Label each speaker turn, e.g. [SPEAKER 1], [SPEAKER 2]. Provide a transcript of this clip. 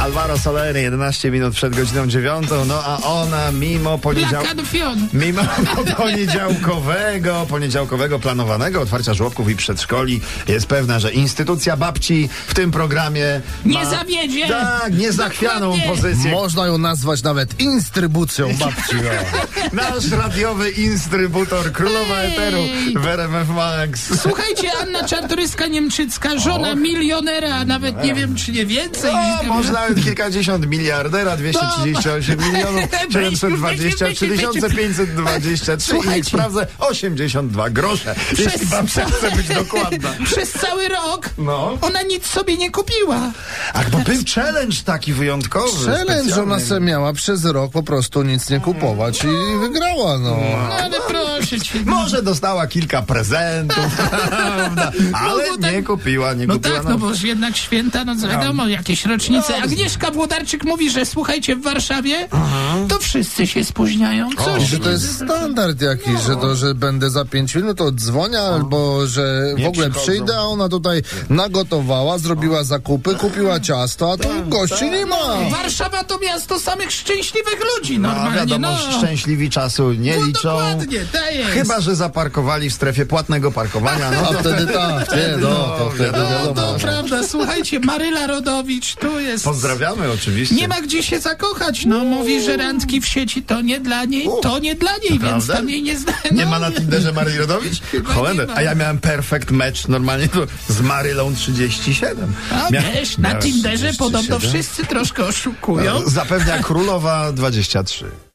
[SPEAKER 1] Alvaro Soler 11 minut przed godziną 9, no a ona mimo poniedziałku.
[SPEAKER 2] Blakado Fion.
[SPEAKER 1] Mimo poniedziałkowego, poniedziałkowego planowanego otwarcia żłobków i przedszkoli jest pewna, że instytucja babci w tym programie
[SPEAKER 2] Nie
[SPEAKER 1] ma,
[SPEAKER 2] zawiedzie.
[SPEAKER 1] Tak, niezachwianą
[SPEAKER 2] Dokładnie.
[SPEAKER 1] pozycję.
[SPEAKER 3] Można ją nazwać nawet instrybucją babci. No.
[SPEAKER 1] Nasz radiowy instrybutor królowa
[SPEAKER 2] Ej.
[SPEAKER 1] eteru w RMF Max.
[SPEAKER 2] Słuchajcie, Anna Czartoryska-Niemczycka, żona milionera, a nawet
[SPEAKER 1] No.
[SPEAKER 2] nie wiem, czy nie więcej.
[SPEAKER 1] O, może nawet kilkadziesiąt miliardera, 238
[SPEAKER 2] No,
[SPEAKER 1] milionów,
[SPEAKER 2] Byliśmy,
[SPEAKER 1] 723
[SPEAKER 2] byliśmy, byliśmy.
[SPEAKER 1] 523 i jak
[SPEAKER 2] Słuchajcie.
[SPEAKER 1] sprawdzę 82 grosze, jeśli babcia chce być dokładna.
[SPEAKER 2] Przez cały rok
[SPEAKER 1] No.
[SPEAKER 2] ona nic sobie nie kupiła. No,
[SPEAKER 1] Ach, bo był challenge taki wyjątkowy.
[SPEAKER 3] Challenge ona
[SPEAKER 1] specjalny.
[SPEAKER 3] se miała przez rok po prostu nic nie kupować i wygrała, no.
[SPEAKER 2] No ale proszę cię.
[SPEAKER 1] Może dostała kilka prezentów, prawda? ale
[SPEAKER 2] No, bo tak-
[SPEAKER 1] nie kupiła, nie
[SPEAKER 2] No
[SPEAKER 1] kupiła. No.
[SPEAKER 2] tak, no bo jednak święta, no wiadomo, jakieś rocznice. Agnieszka Włodarczyk mówi, że słuchajcie, w Warszawie to wszyscy się spóźniają.
[SPEAKER 3] I
[SPEAKER 2] Coś
[SPEAKER 3] że to jest
[SPEAKER 1] No.
[SPEAKER 3] standard jakiś, że to, że będę za pięć minut odzwonia, albo że w
[SPEAKER 1] No. Nie
[SPEAKER 3] ogóle
[SPEAKER 1] przychodzą.
[SPEAKER 3] przyjdę, a ona tutaj nagotowała, zrobiła zakupy, kupiła ciasto, a
[SPEAKER 1] Tak,
[SPEAKER 3] tu gości nie ma.
[SPEAKER 2] Warszawa to miasto samych szczęśliwych ludzi
[SPEAKER 1] No,
[SPEAKER 2] normalnie.
[SPEAKER 1] wiadomo,
[SPEAKER 2] No,
[SPEAKER 1] szczęśliwi czasu nie
[SPEAKER 2] no
[SPEAKER 1] liczą.
[SPEAKER 2] dokładnie, to jest.
[SPEAKER 1] Chyba, że zaparkowali w strefie płatnego parkowania. No
[SPEAKER 3] A
[SPEAKER 1] to
[SPEAKER 3] wtedy tak, nie, no, to wtedy
[SPEAKER 2] No
[SPEAKER 3] wiadomo.
[SPEAKER 2] to prawda, słuchajcie, Maryla Rodowicz tu jest.
[SPEAKER 1] pozdrawiamy oczywiście.
[SPEAKER 2] Nie ma gdzie się zakochać. No mówi, że randki w sieci to nie dla niej,
[SPEAKER 1] U.
[SPEAKER 2] to nie dla niej, więc
[SPEAKER 1] Naprawdę?
[SPEAKER 2] tam jej nie zna.
[SPEAKER 1] Nie
[SPEAKER 2] no,
[SPEAKER 1] ma na Tinderze Marii Rodowicz?
[SPEAKER 2] Chyba
[SPEAKER 1] Cholender.
[SPEAKER 2] nie ma.
[SPEAKER 1] A ja miałem perfect match normalnie to z Marylą 37.
[SPEAKER 2] A
[SPEAKER 1] Mia-
[SPEAKER 2] wiesz, na
[SPEAKER 1] miałem
[SPEAKER 2] Tinderze podobno
[SPEAKER 1] 37. No,
[SPEAKER 2] wszyscy troszkę oszukują.
[SPEAKER 1] Zapewnia królowa 23.